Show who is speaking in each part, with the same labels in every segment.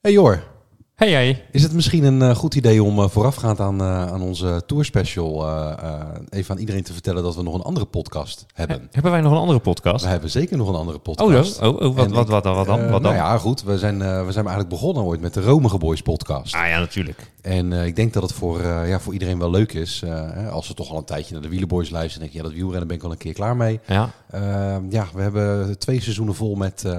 Speaker 1: Hey Jor,
Speaker 2: Hey, hey.
Speaker 1: is het misschien een eh, goed idee om eh, voorafgaand aan, eh, aan onze tourspecial eh, eh, even aan iedereen te vertellen dat we nog een andere podcast hebben?
Speaker 2: Hebben wij nog een andere podcast?
Speaker 1: We hebben zeker nog een andere
Speaker 2: Oh,
Speaker 1: podcast.
Speaker 2: zo. oh, oh wat,
Speaker 1: En
Speaker 2: wat,
Speaker 1: ik,
Speaker 2: wat dan? Wat dan?
Speaker 1: eh,
Speaker 2: Wat dan?
Speaker 1: Nou ja, goed. We zijn, eh, we zijn eigenlijk begonnen ooit met de Romige Boys podcast.
Speaker 2: Ah ja, natuurlijk.
Speaker 1: En eh, ik denk dat het voor, eh, ja, voor iedereen wel leuk is. eh, hè, als ze toch al een tijdje naar de Wielenboys luisteren, denk je, ja, dat wielrennen ben ik al een keer klaar mee.
Speaker 2: Ja.
Speaker 1: Eh, ja, we hebben twee seizoenen vol met eh,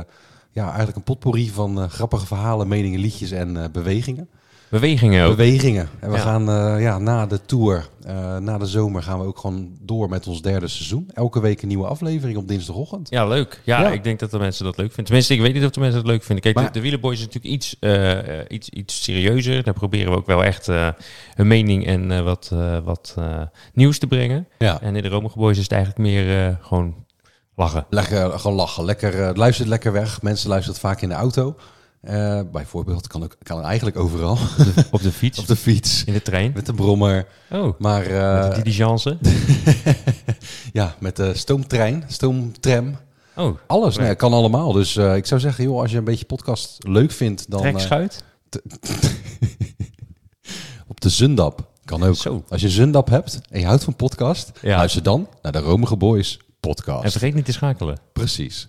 Speaker 1: ja, eigenlijk een potpourri van eh, grappige verhalen, meningen, liedjes en eh, bewegingen.
Speaker 2: Bewegingen ook.
Speaker 1: Bewegingen. En we
Speaker 2: Ja.
Speaker 1: gaan eh, ja, na de tour, eh, na de zomer, gaan we ook gewoon door met ons derde seizoen. Elke week een nieuwe aflevering op dinsdagochtend.
Speaker 2: Ja, leuk. Ja,
Speaker 1: Ja.
Speaker 2: ik denk dat de mensen dat leuk vinden. Tenminste, ik weet niet of de mensen dat leuk vinden. Kijk,
Speaker 1: Maar-
Speaker 2: de, de Wielerboys is natuurlijk iets, eh, eh, iets, iets serieuzer. Daar proberen we ook wel echt eh, een mening en eh, wat, eh, wat eh, nieuws te brengen.
Speaker 1: Ja.
Speaker 2: En in de Romige Boys is het eigenlijk meer eh, gewoon lachen.
Speaker 1: Lekker, gewoon lachen. Lekker, eh, het luistert lekker weg. Mensen luisteren het vaak in de auto. Eh, bijvoorbeeld, kan, ook, kan eigenlijk overal.
Speaker 2: Op de fiets,
Speaker 1: Op de fiets,
Speaker 2: in de trein.
Speaker 1: met de brommer.
Speaker 2: Oh,
Speaker 1: Maar eh,
Speaker 2: met de diligence.
Speaker 1: ja, met de stoomtrein, stoomtram.
Speaker 2: Oh,
Speaker 1: Alles,
Speaker 2: Nee.
Speaker 1: nee, kan allemaal. Dus eh, ik zou zeggen, joh, als je een beetje podcast leuk vindt, dan eh,
Speaker 2: trekschuit.
Speaker 1: op de Zundap. Kan ook.
Speaker 2: Zo.
Speaker 1: Als je Zundap hebt en je houdt van podcast,
Speaker 2: Ja.
Speaker 1: luister dan naar de Romige Boys podcast.
Speaker 2: En vergeet niet te schakelen.
Speaker 1: Precies.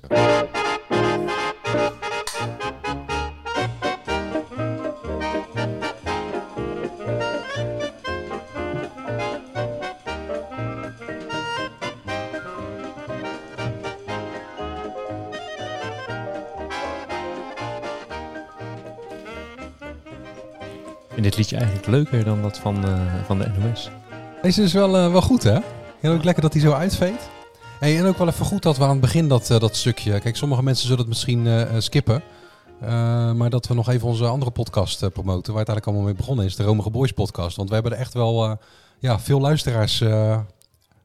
Speaker 2: Ik vind dit liedje eigenlijk leuker dan dat van, eh, van de NOS.
Speaker 1: Deze is wel, eh, wel goed, hè? En ook lekker dat hij zo uitveet. Hey, en ook wel even goed dat we aan het begin dat, eh, dat stukje... Kijk, sommige mensen zullen het misschien eh, eh, skippen. eh, maar dat we nog even onze andere podcast eh, promoten. Waar het eigenlijk allemaal mee begonnen is. De Romige Boys podcast. Want we hebben er echt wel eh, ja, veel luisteraars eh,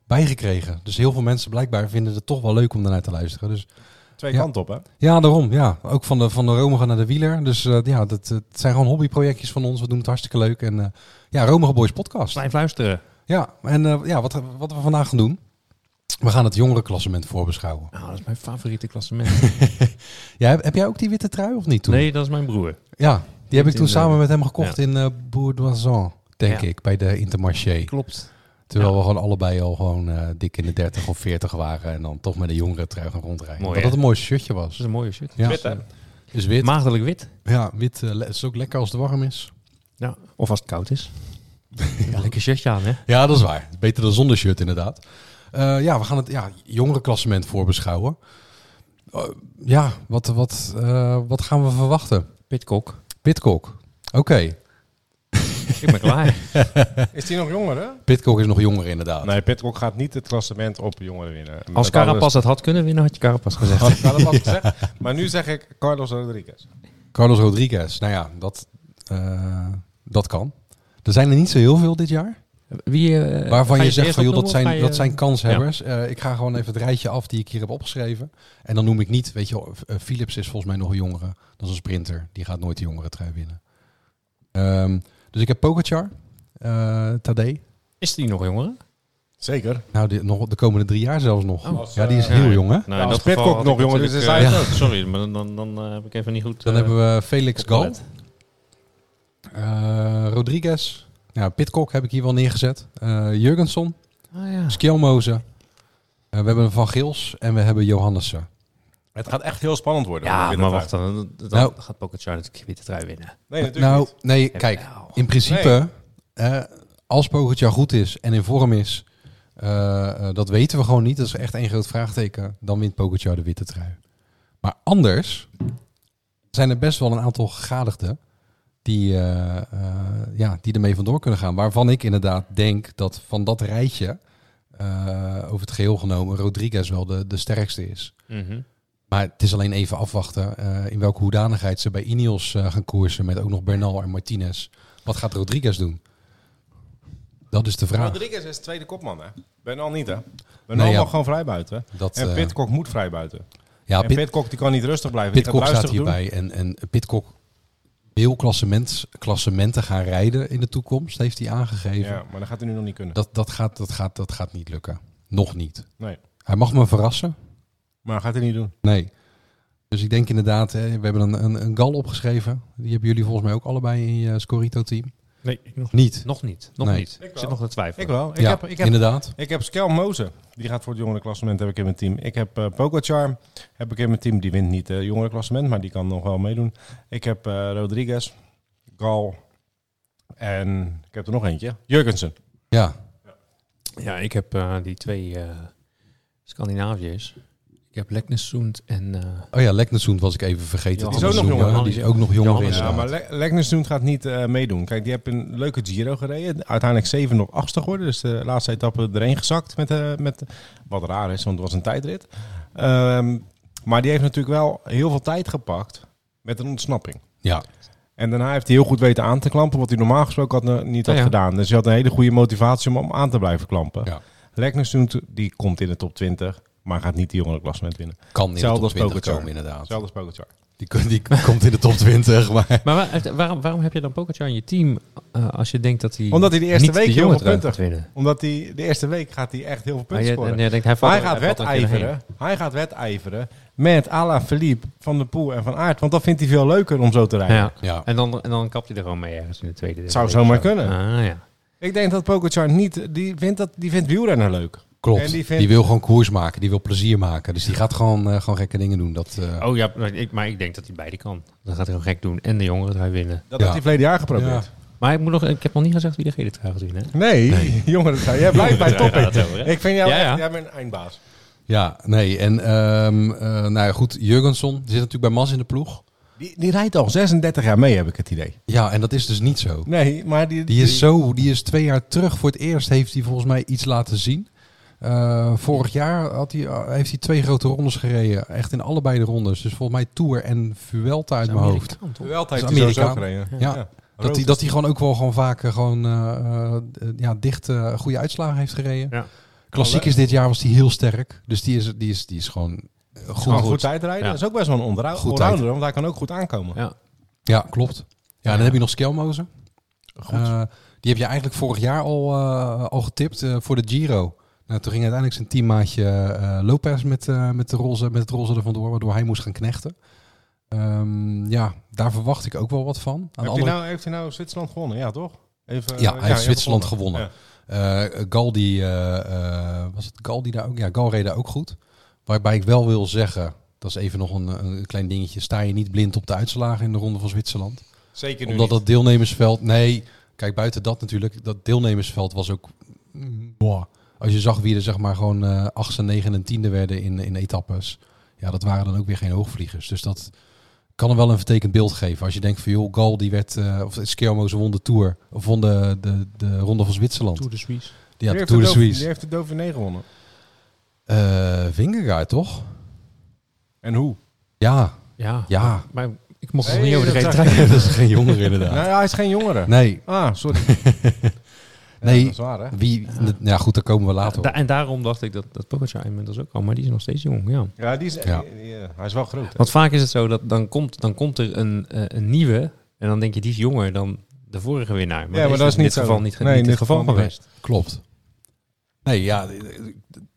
Speaker 1: bij gekregen. Dus heel veel mensen blijkbaar vinden het toch wel leuk om daarnaar te luisteren. Dus
Speaker 3: Twee
Speaker 1: Ja.
Speaker 3: kanten op, hè?
Speaker 1: Ja, daarom. Ja. Ook van de, van de Romige naar de wieler. Dus eh, ja, dat, eh, het zijn gewoon hobbyprojectjes van ons. We doen het hartstikke leuk. En eh, ja, Romige Boys podcast.
Speaker 2: Blijf luisteren.
Speaker 1: Ja, en eh, ja, wat, wat we vandaag gaan doen. We gaan het jongerenklassement voorbeschouwen.
Speaker 2: Nou, dat is mijn favoriete klassement.
Speaker 1: Ja, heb, heb jij ook die witte trui of niet toen?
Speaker 2: Nee, dat is mijn broer.
Speaker 1: Ja, die heb ik
Speaker 2: In
Speaker 1: toen
Speaker 2: de-
Speaker 1: samen met hem gekocht in eh Bourdoisan, denk
Speaker 2: Ja.
Speaker 1: ik, bij de Intermarché.
Speaker 2: Klopt.
Speaker 1: Terwijl
Speaker 2: Ja.
Speaker 1: we gewoon allebei al gewoon eh, dik in de 30 of 40 waren. En dan toch met een jongere trui gaan rondrijden.
Speaker 2: Mooi,
Speaker 1: dat
Speaker 2: hè?
Speaker 1: dat een mooi shirtje
Speaker 2: Dat
Speaker 1: was.
Speaker 2: is een mooie shit.
Speaker 1: Ja,
Speaker 3: Wit, hè?
Speaker 1: is wit.
Speaker 2: Maagdelijk wit.
Speaker 1: ja, wit eh, le- is ook lekker als het warm is.
Speaker 2: Ja. Of als het koud is. Lekker shirtje aan, hè?
Speaker 1: Ja, dat is waar. Beter dan zonder shirt inderdaad. Eh, ja, we gaan het ja, jongerenklassement voorbeschouwen. Eh, ja, wat, wat, eh, wat gaan we verwachten?
Speaker 2: Pitcock.
Speaker 1: Pitcock. Oké,
Speaker 2: Ik ben klaar.
Speaker 3: Is die nog jonger, hè?
Speaker 1: Pitcock is nog jonger inderdaad.
Speaker 3: Nee, Pitcock gaat niet het klassement op jongeren winnen.
Speaker 2: Als Carapas dat had kunnen winnen, had je Carapas gezegd.
Speaker 3: Had Carapaz gezegd. Maar nu zeg ik Carlos Rodriguez.
Speaker 1: Carlos Rodriguez, nou ja, dat, eh, dat kan. Er zijn er niet zo heel veel dit jaar.
Speaker 2: Wie, eh,
Speaker 1: Waarvan
Speaker 2: ga
Speaker 1: je,
Speaker 2: het
Speaker 1: zegt
Speaker 2: eerst
Speaker 1: van joh, dat
Speaker 2: opnoemen, of
Speaker 1: zijn,
Speaker 2: ga
Speaker 1: dat
Speaker 2: je-
Speaker 1: zijn kanshebbers. Eh, ik ga gewoon even het rijtje af die ik hier heb opgeschreven. En dan noem ik niet, weet je, wel, eh, Philips is volgens mij nog een jongere. Dat is een sprinter. Die gaat nooit de jongere trui winnen. Ehm, dus ik heb Pogacar, eh Tadej.
Speaker 2: Is die nog jongeren?
Speaker 3: Zeker.
Speaker 1: Nou, de, nog, de komende drie jaar zelfs nog.
Speaker 2: Oh.
Speaker 3: Als,
Speaker 1: ja, die is
Speaker 3: eh,
Speaker 1: heel
Speaker 2: ja.
Speaker 1: jong hè.
Speaker 3: Nou, als Pitcock nog jonger is, is hij
Speaker 2: ja.
Speaker 3: het ook.
Speaker 2: eh, Sorry, maar dan, dan eh, heb ik even niet goed...
Speaker 1: Dan
Speaker 2: eh,
Speaker 1: hebben we Felix Gal.
Speaker 2: opgelet.
Speaker 1: eh, Rodriguez. Ja, Pitcock heb ik hier wel neergezet. Eh Jurgenson.
Speaker 2: Ah, ja.
Speaker 1: Skjelmozen. Eh, we hebben Van Gils en we hebben Johannessen.
Speaker 3: Het gaat echt heel spannend worden.
Speaker 2: Ja,
Speaker 3: Witte
Speaker 2: maar
Speaker 3: trui.
Speaker 2: wacht, dan, dan
Speaker 1: Nou.
Speaker 2: gaat Pogacar natuurlijk witte trui winnen.
Speaker 3: Nee, natuurlijk
Speaker 1: Nou,
Speaker 3: niet.
Speaker 1: nee, kijk.
Speaker 2: Nou.
Speaker 1: In principe, eh, als Pogacar goed is en in vorm is, eh, eh, dat weten we gewoon niet. Dat is echt één groot vraagteken. Dan wint Pogacar de witte trui. Maar anders zijn er best wel een aantal gegadigden die, eh, eh, ja, die ermee vandoor kunnen gaan. Waarvan ik inderdaad denk dat van dat rijtje, eh, over het geheel genomen, Rodriguez wel de, de sterkste is.
Speaker 2: Mhm.
Speaker 1: Maar het is alleen even afwachten eh, in welke hoedanigheid ze bij Ineos eh, gaan koersen met ook nog Bernal en Martinez. Wat gaat Rodriguez doen? Dat is de vraag.
Speaker 3: Rodriguez is tweede kopman, hè? Benal niet, hè? Benal
Speaker 1: Nee, ja.
Speaker 3: mag gewoon vrij buiten.
Speaker 1: Dat,
Speaker 3: En
Speaker 1: eh,
Speaker 3: Pitcock moet vrij buiten.
Speaker 1: ja,
Speaker 3: en
Speaker 1: Pit-
Speaker 3: Pitcock die kan niet rustig blijven. Die
Speaker 1: Pitcock
Speaker 3: gaat
Speaker 1: staat
Speaker 3: luisteren
Speaker 1: hierbij en, en Pitcock wil klassement, klassementen gaan rijden in de toekomst, heeft hij aangegeven.
Speaker 3: Ja, maar dat gaat hij nu nog niet kunnen.
Speaker 1: Dat, dat, gaat, dat, gaat, dat gaat niet lukken. Nog niet.
Speaker 3: Nee.
Speaker 1: Hij mag me verrassen.
Speaker 3: Maar dat gaat hij niet doen.
Speaker 1: Nee. Dus ik denk inderdaad, hè, we hebben een, een, een gal opgeschreven. Die hebben jullie volgens mij ook allebei in je Scorito-team.
Speaker 4: Nee, ik nog
Speaker 1: Niet.
Speaker 2: Nog niet. Nog
Speaker 1: Nee.
Speaker 2: niet.
Speaker 3: Ik
Speaker 2: Ik
Speaker 3: wel.
Speaker 2: zit nog te twijfelen.
Speaker 3: Ik wel. Ik,
Speaker 1: ja,
Speaker 3: heb, ik, heb,
Speaker 1: inderdaad.
Speaker 3: ik heb Skel Mozen. Die gaat voor het jongerenklassement, heb ik in mijn team. Ik heb eh Pogacar, heb ik in mijn team. Die wint niet het jongerenklassement, maar die kan nog wel meedoen. Ik heb eh, Rodriguez, Gal en ik heb er nog eentje. Jurgensen.
Speaker 1: Ja,
Speaker 2: Ja, ik heb eh, die twee eh, Scandinaviërs. Ik heb Leknesund en... eh,
Speaker 1: oh ja, Leknesund was ik even vergeten.
Speaker 2: Die
Speaker 3: is ook nog
Speaker 1: Leknesund,
Speaker 3: jonger.
Speaker 1: ja, Die is ook nog jonger
Speaker 2: Johannes,
Speaker 3: Ja,
Speaker 1: inderdaad.
Speaker 3: maar Le Leknesund gaat niet eh, meedoen. Kijk, die heeft een leuke Giro gereden. Uiteindelijk 7 op 8 geworden. Dus de laatste etappe erheen gezakt. Met, eh, met, wat raar is, want het was een tijdrit. Ehm, maar die heeft natuurlijk wel heel veel tijd gepakt met een ontsnapping.
Speaker 1: Ja,
Speaker 3: En daarna heeft hij heel goed weten aan te klampen, wat hij normaal gesproken had, eh, niet
Speaker 2: Ah,
Speaker 3: had
Speaker 2: Ja, ja.
Speaker 3: gedaan. Dus hij had een hele goede motivatie om, om aan te blijven klampen.
Speaker 1: Ja.
Speaker 3: Leknesund, die komt in de top 20, maar gaat niet die jongerenklassement winnen.
Speaker 1: kan in de
Speaker 3: Hetzelfde
Speaker 1: top
Speaker 3: als
Speaker 1: 20
Speaker 3: Pogacar.
Speaker 1: komen inderdaad.
Speaker 3: Hetzelfde als Pogacar.
Speaker 1: Die, die komt in de top 20, maar...
Speaker 2: Maar waar- waarom, waarom heb je dan Pogacar in je team eh, als je denkt dat hij
Speaker 3: Omdat hij de eerste
Speaker 2: niet
Speaker 3: week
Speaker 2: de
Speaker 3: heel
Speaker 2: jongen
Speaker 3: veel punten
Speaker 2: gaat winnen?
Speaker 3: Omdat hij de eerste week gaat hij echt heel veel
Speaker 2: Maar
Speaker 3: punten
Speaker 2: je,
Speaker 3: scoren.
Speaker 2: en je denkt, hij, valt
Speaker 3: Hij
Speaker 2: er-
Speaker 3: gaat
Speaker 2: valt er een keer doorheen.
Speaker 3: wedijveren. Hij gaat wedijveren met Ala Philippe van de Poel en van Aert. Want dat vindt hij veel leuker om zo te rijden.
Speaker 2: Ja.
Speaker 1: Ja,
Speaker 2: En dan, en dan kapt hij er gewoon mee ergens in de tweede.
Speaker 3: Het zou
Speaker 2: derde
Speaker 3: zomaar
Speaker 2: week of zo.
Speaker 3: kunnen.
Speaker 2: Ah, ja.
Speaker 3: Ik denk dat Pogacar niet... Die vindt, dat, die vindt wielrennen leuk.
Speaker 1: klopt.
Speaker 3: En
Speaker 1: Die,
Speaker 3: die vindt-
Speaker 1: wil gewoon koers maken, die wil plezier maken. Dus die gaat gewoon, eh, gewoon gekke dingen doen. Dat, eh,
Speaker 2: Oh ja, maar ik, maar ik denk dat hij beide kan. Dan gaat hij gewoon gek doen en de jongeren trui winnen.
Speaker 1: Ja.
Speaker 3: Dat heeft hij verleden jaar geprobeerd.
Speaker 2: Maar ik, moet nog, ik heb nog niet gezegd wie de gele trui gaat winnen. hè?
Speaker 3: Nee, jongeren. Jij blijft bij topic. Ik vind jou
Speaker 2: Ja, ja.
Speaker 3: echt... Jij bent een eindbaas.
Speaker 1: Ja, nee. En ehm, eh, nou ja, goed, Jurgenson die zit natuurlijk bij Mas in de ploeg.
Speaker 3: Die, die rijdt al 36 jaar mee, heb ik het idee.
Speaker 1: Ja, en dat is dus niet zo.
Speaker 3: Nee, maar die...
Speaker 1: Die is zo, die is twee jaar terug. Voor het eerst heeft hij volgens mij iets laten zien. Eh, vorig jaar had hij, eh, heeft hij twee grote rondes gereden. Echt in allebei de rondes. Dus volgens mij Tour en Vuelta uit mijn hoofd.
Speaker 2: Amerikaan, toch?
Speaker 3: Wel
Speaker 1: is
Speaker 3: tijd die sowieso
Speaker 1: Amerikaan.
Speaker 3: gereden.
Speaker 1: Ja.
Speaker 3: Ja.
Speaker 1: Dat hij, dat hij gewoon ook wel gewoon vaak eh, gewoon, eh, eh, ja, dicht eh, goede uitslagen heeft gereden.
Speaker 2: Ja.
Speaker 1: Klassiek is dit jaar was hij heel sterk. Dus die is, die is, die is gewoon eh, goed.
Speaker 3: Gewoon goed
Speaker 1: goed.
Speaker 3: tijd rijden.
Speaker 2: Ja.
Speaker 3: Dat is ook best wel een onderhoud-
Speaker 1: Goed
Speaker 3: allrounder, want hij kan ook goed aankomen.
Speaker 2: Ja.
Speaker 1: Ja, klopt. Ja, en
Speaker 2: Ja.
Speaker 1: dan heb je nog Skelmozen.
Speaker 3: Goed.
Speaker 1: Eh, die heb je eigenlijk vorig jaar al, eh, al getipt eh, voor de Giro. Nou, toen ging uiteindelijk zijn teammaatje eh, Lopez met, eh, met, de roze, met het roze er vandoor, waardoor hij moest gaan knechten. Ehm, ja, daar verwacht ik ook wel wat van. Aan de
Speaker 3: heeft,
Speaker 1: andere
Speaker 3: hij nou, heeft hij nou Zwitserland gewonnen? Ja, toch? Even,
Speaker 1: Ja, hij heeft
Speaker 3: je
Speaker 1: Zwitserland gewonnen. Eh, Gal die, eh, eh, was het Gal die daar ook? Ja, Gal reed daar ook goed. Waarbij ik wel wil zeggen, dat is even nog een, een klein dingetje. Sta je niet blind op de uitslagen in de Ronde van Zwitserland?
Speaker 3: Zeker nu
Speaker 1: Omdat
Speaker 3: niet.
Speaker 1: dat deelnemersveld, nee, kijk buiten dat natuurlijk, dat deelnemersveld was ook, mm, boah. als je zag wie er zeg maar gewoon eh, achtste, negen en tiende werden in, in etappes, ja, dat waren dan ook weer geen hoogvliegers. Dus dat kan er wel een vertekend beeld geven. Als je denkt van joh, Gal die werd, eh, of Skelmo ze won de Tour, of won de, de, de Ronde van Zwitserland.
Speaker 2: Tour de Suisse.
Speaker 1: Ja,
Speaker 3: Die
Speaker 1: de
Speaker 3: heeft
Speaker 1: Tour de
Speaker 3: Dau- Die
Speaker 1: Suisse.
Speaker 3: heeft de Dauphiné gewonnen.
Speaker 1: Eh Vingegaard, toch?
Speaker 3: En hoe?
Speaker 1: Ja,
Speaker 2: Ja.
Speaker 1: ja.
Speaker 2: Maar ik mocht nog
Speaker 3: Nee,
Speaker 2: niet over de
Speaker 3: dat
Speaker 2: gele
Speaker 3: zag
Speaker 2: trui.
Speaker 1: dat is geen jongere inderdaad.
Speaker 3: Nou ja, hij is geen jongere.
Speaker 1: Nee,
Speaker 3: Ah, sorry.
Speaker 1: Nee.
Speaker 3: Ja, dat is waar, hè?
Speaker 1: wie, ja goed, daar komen we later
Speaker 2: Da-
Speaker 1: op.
Speaker 2: en daarom dacht ik dat, dat Pogacar inmiddels ook al, maar die is nog steeds jong, ja.
Speaker 3: Ja, die is,
Speaker 1: Ja.
Speaker 3: die- eh, hij is wel groot. hè?
Speaker 2: Want vaak is het zo dat dan komt, dan komt er een, eh, een nieuwe en dan denk je die is jonger dan de vorige winnaar.
Speaker 3: Ja, maar dat is
Speaker 2: in
Speaker 3: niet
Speaker 2: dit
Speaker 3: zo.
Speaker 2: geval niet, ge-
Speaker 3: Nee,
Speaker 2: niet
Speaker 3: in
Speaker 2: het
Speaker 3: dit
Speaker 2: geval
Speaker 3: geval niet.
Speaker 2: geweest.
Speaker 1: Klopt. Nee, ja,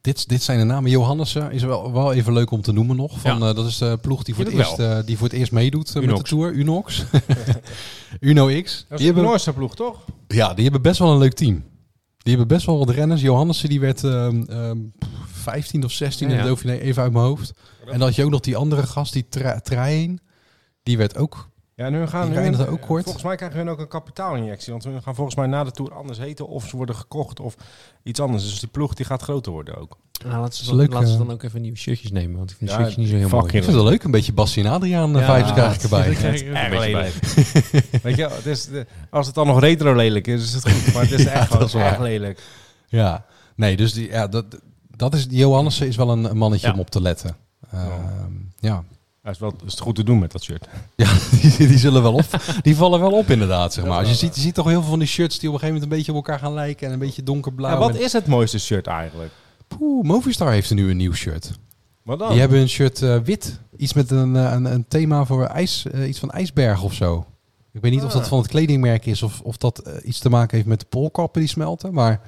Speaker 1: dit, dit zijn de namen. Johannessen is wel, wel even leuk om te noemen nog. Van, eh, dat is de ploeg die voor, het
Speaker 2: Vind ik
Speaker 1: eerst, eh, die voor het eerst meedoet eh, met de
Speaker 2: Unox.
Speaker 1: Tour. Unox. Uno X. Die
Speaker 3: Dat is de
Speaker 1: hebben,
Speaker 3: Noorse ploeg, toch?
Speaker 1: ja, die hebben best wel een leuk team. Die hebben best wel wat renners. Johannessen die werd ehm, ehm, 15 of 16
Speaker 2: Ja,
Speaker 1: in de
Speaker 2: ja.
Speaker 1: Dauphiné, even uit mijn hoofd. En dan had je ook nog die andere gast, die tra- Trein. Die werd ook...
Speaker 3: Ja, nu gaan
Speaker 1: Die
Speaker 3: nu
Speaker 1: rijden
Speaker 3: in-
Speaker 1: dat ook kort.
Speaker 3: Volgens mij krijgen hun ook een kapitaalinjectie. Want we gaan volgens mij na de Tour anders heten. Of ze worden gekocht of iets anders. Dus die ploeg die gaat groter worden ook.
Speaker 2: Nou, laten ze,
Speaker 1: is
Speaker 2: dan,
Speaker 1: leuk,
Speaker 2: laten ze
Speaker 1: eh,
Speaker 2: dan ook even nieuwe shirtjes nemen, want ik vind de
Speaker 3: Ja,
Speaker 2: shirtjes niet zo heel
Speaker 3: fuck
Speaker 2: mooi.
Speaker 1: Ik vind het wel leuk, een beetje Bassi en Adriaan eh, vibes krijg ik erbij.
Speaker 2: Erg lelijk.
Speaker 3: Weet je, het is, de- als het dan nog retro lelijk is, is het goed. Maar het is echt, gewoon
Speaker 1: dat is waar.
Speaker 3: erg lelijk.
Speaker 1: Ja, nee, dus die, ja, dat, dat is, die Johannessen is wel een, een mannetje
Speaker 2: Ja.
Speaker 1: om op te letten. Ehm, ja,
Speaker 3: Hij is wel is het goed te doen met dat shirt.
Speaker 1: ja die, die zullen wel op. Die vallen wel op inderdaad, zeg maar. Als je ziet, je ziet toch heel veel van die shirts die op een gegeven moment een beetje op elkaar gaan lijken en een beetje donkerblauw.
Speaker 3: Ja, wat
Speaker 1: en-
Speaker 3: is het mooiste shirt eigenlijk?
Speaker 1: Poeh, Movistar heeft er nu een nieuw shirt.
Speaker 3: Wat dan?
Speaker 1: Die hebben een shirt eh, wit, iets met een, eh, een, een thema voor ijs, eh, iets van ijsberg of zo. Ik weet niet of dat
Speaker 3: Ah.
Speaker 1: van het kledingmerk is of, of dat eh, iets te maken heeft met de polkappen die smelten, maar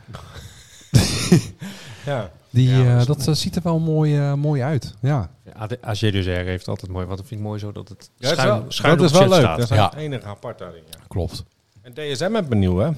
Speaker 3: Ja.
Speaker 1: Die,
Speaker 2: Ja,
Speaker 1: eh,
Speaker 2: dat is
Speaker 1: dat eh, ziet er wel mooi, eh, mooi uit. Ja.
Speaker 2: AG dus R heeft altijd mooi, want dat vind ik mooi zo dat het
Speaker 3: Ja, dat is
Speaker 2: schuin,
Speaker 3: wel-
Speaker 2: schuin
Speaker 3: dat
Speaker 2: op
Speaker 3: is wel
Speaker 2: chat
Speaker 3: leuk.
Speaker 2: staat.
Speaker 3: Dat is wel
Speaker 1: Ja.
Speaker 3: het enige apart daarin. ja.
Speaker 1: Klopt.
Speaker 3: En DSM hebben een nieuw, hè?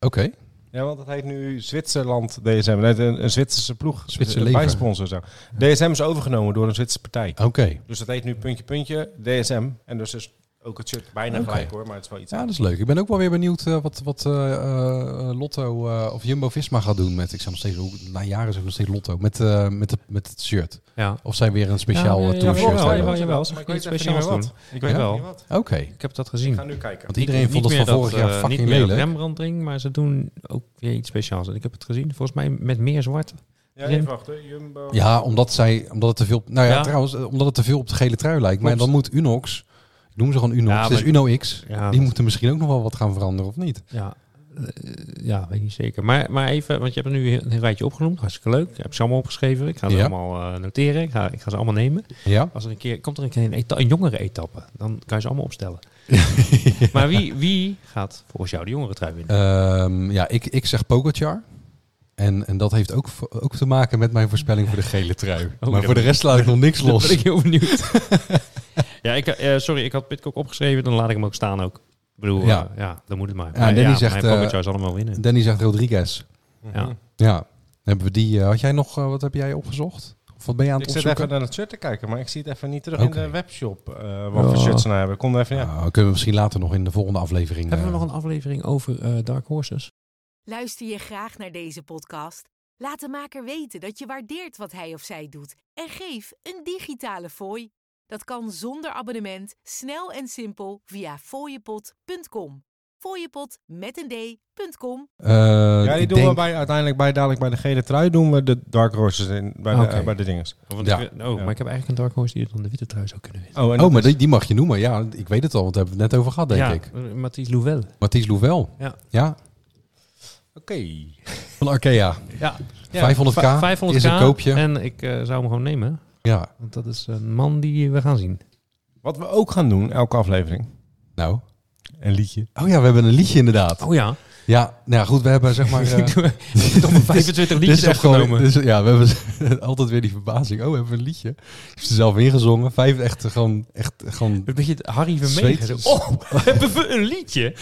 Speaker 1: Oké.
Speaker 3: Ja, want dat heet nu Zwitserland DSM. Net een, een Zwitserse ploeg.
Speaker 1: Zwitser
Speaker 3: Een
Speaker 1: leven.
Speaker 3: bijsponsor zo. DSM is overgenomen door een Zwitserse partij.
Speaker 1: Oké.
Speaker 3: Dus dat heet nu puntje puntje DSM. En dus is ook het shirt bijna
Speaker 1: Oké.
Speaker 3: gelijk hoor, maar het is wel iets
Speaker 1: Ja, dat
Speaker 3: anders.
Speaker 1: is leuk. Ik ben ook wel weer benieuwd eh, wat, wat eh, eh, Lotto eh, of Jumbo Visma gaat doen met. Ik zou nog steeds, hoe- na jaren zeg ik nog steeds Lotto. Met, eh, met, het- met het shirt.
Speaker 2: Ja.
Speaker 1: Of zij weer een speciaal
Speaker 2: Ja,
Speaker 1: eh,
Speaker 2: ja,
Speaker 1: tourshirt
Speaker 2: jawel,
Speaker 1: hebben.
Speaker 2: jawel. Ze
Speaker 3: maar ik
Speaker 2: gaan
Speaker 3: weet
Speaker 2: iets
Speaker 3: even niet meer
Speaker 2: speciaals
Speaker 3: wat. Ik weet
Speaker 1: Ja?
Speaker 3: wel niet meer wat.
Speaker 1: Oké.
Speaker 2: Ik heb dat
Speaker 3: Ik
Speaker 2: gezien.
Speaker 3: ga nu kijken.
Speaker 1: Want iedereen
Speaker 2: Niet
Speaker 1: vond het
Speaker 2: meer
Speaker 1: van vorig
Speaker 2: dat,
Speaker 1: jaar
Speaker 2: eh,
Speaker 1: fucking
Speaker 2: niet meer dat
Speaker 1: lelijk.
Speaker 2: Rembrandt-ring, maar ze doen ook weer iets speciaals. En ik heb het gezien, volgens mij met meer zwart.
Speaker 3: Ja, even wachten. Jumbo.
Speaker 1: Ja, omdat, zij, omdat het te veel. Nou ja,
Speaker 2: Ja.
Speaker 1: trouwens, eh, omdat het te veel op de gele trui lijkt. Maar
Speaker 2: Klopt.
Speaker 1: dan moet Unox. Ik noem ze gewoon Unox.
Speaker 2: Ja,
Speaker 1: het is
Speaker 2: maar-
Speaker 1: UnoX.
Speaker 2: Ja,
Speaker 1: Die moeten misschien ook nog wel wat gaan veranderen, of niet?
Speaker 2: ja, eh, ja, weet niet zeker. Maar, maar even, want je hebt er nu een rijtje opgenoemd. Hartstikke leuk. Ik heb ze allemaal opgeschreven. Ik ga ze
Speaker 1: Ja.
Speaker 2: allemaal eh, noteren. Ik ga, ik ga ze allemaal nemen.
Speaker 1: Ja.
Speaker 2: Als er een keer, komt er een keer een, eta- een jongere etappe. Dan kan je ze allemaal opstellen. Maar wie, wie gaat volgens jou de jongere trui winnen?
Speaker 1: Ehm, ja, ik, ik zeg Pogacar. En, en dat heeft ook, vo- ook te maken met mijn voorspelling voor de gele trui.
Speaker 2: Oh,
Speaker 1: maar
Speaker 2: ja.
Speaker 1: voor de rest laat ik nog niks
Speaker 2: Daar ben
Speaker 1: los.
Speaker 2: ik heel benieuwd. ja, ik, eh, sorry, ik had Pitcock opgeschreven. Dan laat ik hem ook staan ook. Ik bedoel,
Speaker 1: Ja.
Speaker 2: ja, ja dan moet het maar.
Speaker 1: Ja,
Speaker 2: Maar
Speaker 1: Danny
Speaker 2: ja,
Speaker 1: zegt,
Speaker 2: mijn
Speaker 1: eh,
Speaker 2: Pogacar zal hem wel winnen.
Speaker 1: Danny zegt Rodriguez.
Speaker 3: Mhm.
Speaker 2: Ja.
Speaker 1: Ja. Dan Hebben we die, eh, had jij nog, eh, wat heb jij opgezocht? Of wat ben je aan het
Speaker 3: Ik zit
Speaker 1: opzoeken?
Speaker 3: even naar het shirt te kijken, maar ik zie het even niet terug
Speaker 1: Oké.
Speaker 3: in de webshop. eh, wat
Speaker 2: Ja.
Speaker 3: voor shirts ze nou hebben. Ik kon er even, ja.
Speaker 1: Nou, kunnen we misschien later nog in de volgende aflevering.
Speaker 2: Hebben we
Speaker 1: eh,
Speaker 2: nog een aflevering over eh, Dark Horses?
Speaker 4: Luister je graag naar deze podcast? Laat de maker weten dat je waardeert wat hij of zij doet en geef een digitale fooi. Dat kan zonder abonnement, snel en simpel via fooiepot.com. Fooiepot met een d.com.
Speaker 1: eh,
Speaker 3: ja, die
Speaker 1: ik
Speaker 3: doen we
Speaker 1: denk,
Speaker 3: bij, uiteindelijk bij, dadelijk bij de gele trui doen we de Dark Horses in, bij, de,
Speaker 2: Oké.
Speaker 3: eh, bij de dinges.
Speaker 2: Want
Speaker 1: Ja.
Speaker 2: ik- oh,
Speaker 3: Ja.
Speaker 2: maar ik heb eigenlijk een Dark Horse die het dan de witte trui zou kunnen winnen.
Speaker 3: Oh, en
Speaker 1: Oh, maar die, die mag je noemen. Ja, ik weet het al, want daar hebben we het net over gehad, denk
Speaker 2: ja,
Speaker 1: ik.
Speaker 2: eh, Matthijs Louvel.
Speaker 1: Mathies Louvel.
Speaker 2: Ja.
Speaker 1: ja.
Speaker 3: Oké.
Speaker 1: Van Arkea.
Speaker 2: Ja,
Speaker 1: 500k is een koopje.
Speaker 2: En ik eh, zou hem gewoon nemen.
Speaker 1: Ja.
Speaker 2: Want dat is een man die we gaan zien.
Speaker 3: Wat we ook gaan doen, elke aflevering.
Speaker 1: Nou.
Speaker 3: Een liedje.
Speaker 1: Oh ja, we hebben een liedje inderdaad.
Speaker 2: Oh ja.
Speaker 1: Ja, nou ja, goed, we hebben zeg maar... eh,
Speaker 2: Ik doe- ik heb nog maar 25
Speaker 1: dit is
Speaker 2: liedjes
Speaker 1: echt gewoon-
Speaker 2: afgenomen.
Speaker 1: dit is- ja, we hebben altijd weer die verbazing. Oh, we hebben een liedje. Ik heb ze zelf ingezongen. Vijf echt eh, gewoon... Echt, eh, gewoon
Speaker 2: Een beetje het Harry Vermegen.
Speaker 1: Zweet.
Speaker 2: zo. Oh, hebben we een liedje?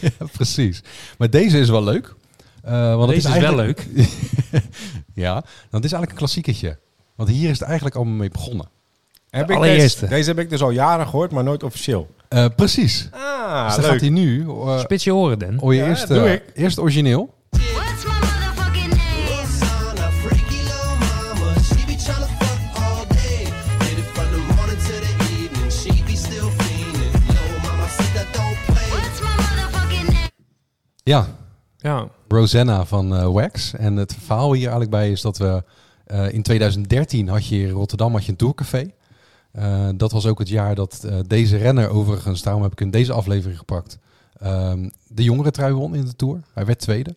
Speaker 1: ja, precies. Maar deze is wel leuk. Eh, want het
Speaker 2: Deze is wel
Speaker 1: eigenlijk- ja, want het is eigenlijk een klassieketje. Want hier is het eigenlijk allemaal mee begonnen.
Speaker 3: Heb
Speaker 2: De
Speaker 3: ik
Speaker 2: allereerste.
Speaker 3: deze, deze heb ik dus al jaren gehoord, maar nooit officieel.
Speaker 1: Eh, precies.
Speaker 3: Ah,
Speaker 1: dus dan gaat hij nu... eh
Speaker 2: Spits je oren, Den.
Speaker 1: oh, je
Speaker 3: Ja,
Speaker 1: eerst,
Speaker 3: doe
Speaker 1: eh,
Speaker 3: ik.
Speaker 1: eerst origineel.
Speaker 5: What's my motherfucking name?
Speaker 6: What's on a freaky little mama? She be tryna fuck all day. Did it from the morning to the evening. She be still fiending. Little mama said that don't play.
Speaker 5: What's my motherfucking name?
Speaker 1: Ja,
Speaker 2: Ja.
Speaker 1: Rosanna van eh, Wax. En het verhaal hier eigenlijk bij is dat we eh, in 2013 had je in Rotterdam had je een tourcafé. Eh, dat was ook het jaar dat eh, deze renner overigens, daarom heb ik in deze aflevering gepakt, ehm, de jongere trui won in de Tour. Hij werd tweede.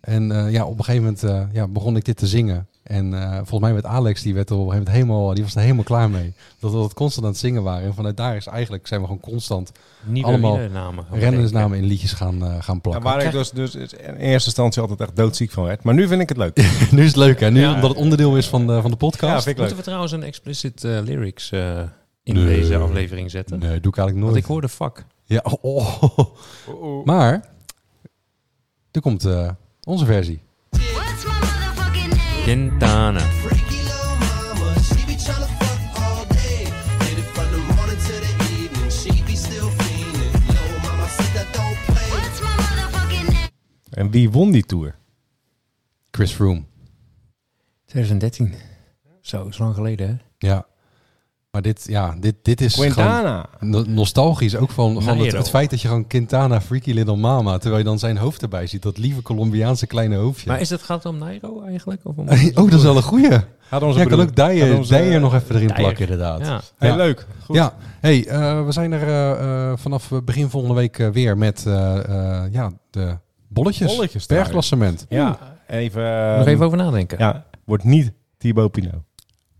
Speaker 1: En eh, ja, op een gegeven moment eh, ja, begon ik dit te zingen. En eh, volgens mij werd Alex, die, werd er op een gegeven moment helemaal, die was er helemaal klaar mee. Dat we dat constant aan het zingen waren. En vanuit daar is eigenlijk, zijn we gewoon constant
Speaker 2: Nieuwe
Speaker 1: Allemaal
Speaker 2: namen.
Speaker 1: rennersnamen in liedjes gaan, eh, gaan
Speaker 3: Ja,
Speaker 1: plakken.
Speaker 3: waar ik dus, dus in eerste instantie altijd echt doodziek van werd. Maar nu vind ik het leuk.
Speaker 1: Nu is het leuk, hè? Nu,
Speaker 2: Ja.
Speaker 1: omdat het onderdeel is van de, van de
Speaker 3: Ja,
Speaker 1: podcast.
Speaker 3: vind ik
Speaker 2: Moeten
Speaker 3: leuk.
Speaker 2: we trouwens een explicit eh, lyrics eh, in
Speaker 1: Nee.
Speaker 2: deze aflevering zetten?
Speaker 1: nee, doe ik eigenlijk nooit.
Speaker 2: Want ik hoorde fuck.
Speaker 1: Ja, oh, oh. Maar, er komt eh, onze versie.
Speaker 5: What's my motherfucking name?
Speaker 2: Quintana.
Speaker 6: Freaky little mama. She be tryna fuck all day. Did it from the morning to the evening. She be still fiending. Little mama said that don't play.
Speaker 5: What's my motherfucking name?
Speaker 3: En wie won die tour?
Speaker 1: Chris Froome.
Speaker 2: 2013. Zo, is lang geleden, hè?
Speaker 1: Ja. Maar dit, ja, dit, dit is gewoon
Speaker 3: Quintana.
Speaker 1: no- nostalgisch. Ook van, van het,
Speaker 2: Nairo.
Speaker 1: het feit dat je gewoon Quintana, Freaky Little Mama... terwijl je dan zijn hoofd erbij ziet. Dat lieve Colombiaanse kleine hoofdje.
Speaker 2: Maar is het, gaat het om Nairo eigenlijk? Of om
Speaker 1: oh, dat is wel een goeie. Jij
Speaker 3: Had onze
Speaker 1: kan
Speaker 3: broer-
Speaker 1: ook Dijer
Speaker 3: had onze-
Speaker 1: Dijer nog even erin
Speaker 2: Dijer.
Speaker 1: plakken, inderdaad.
Speaker 2: Ja.
Speaker 3: Hey,
Speaker 1: Ja.
Speaker 3: leuk. Goed.
Speaker 1: Ja, hey, eh, we zijn er eh, eh, vanaf begin volgende week eh, weer met eh, eh, ja, de bolletjes.
Speaker 3: Bolletjes daar.
Speaker 1: Bergklassement.
Speaker 3: Ja, even... ehm,
Speaker 2: Nog even over nadenken.
Speaker 3: Ja, wordt niet Thibaut Pinot.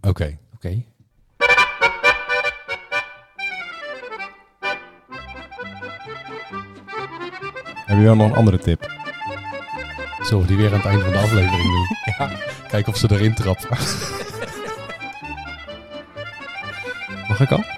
Speaker 1: Oké.
Speaker 2: Oké.
Speaker 3: Heb je wel nog een andere tip?
Speaker 1: Zullen we die weer aan het einde van de aflevering doen? Kijken of ze erin trappen.
Speaker 2: Mag ik al?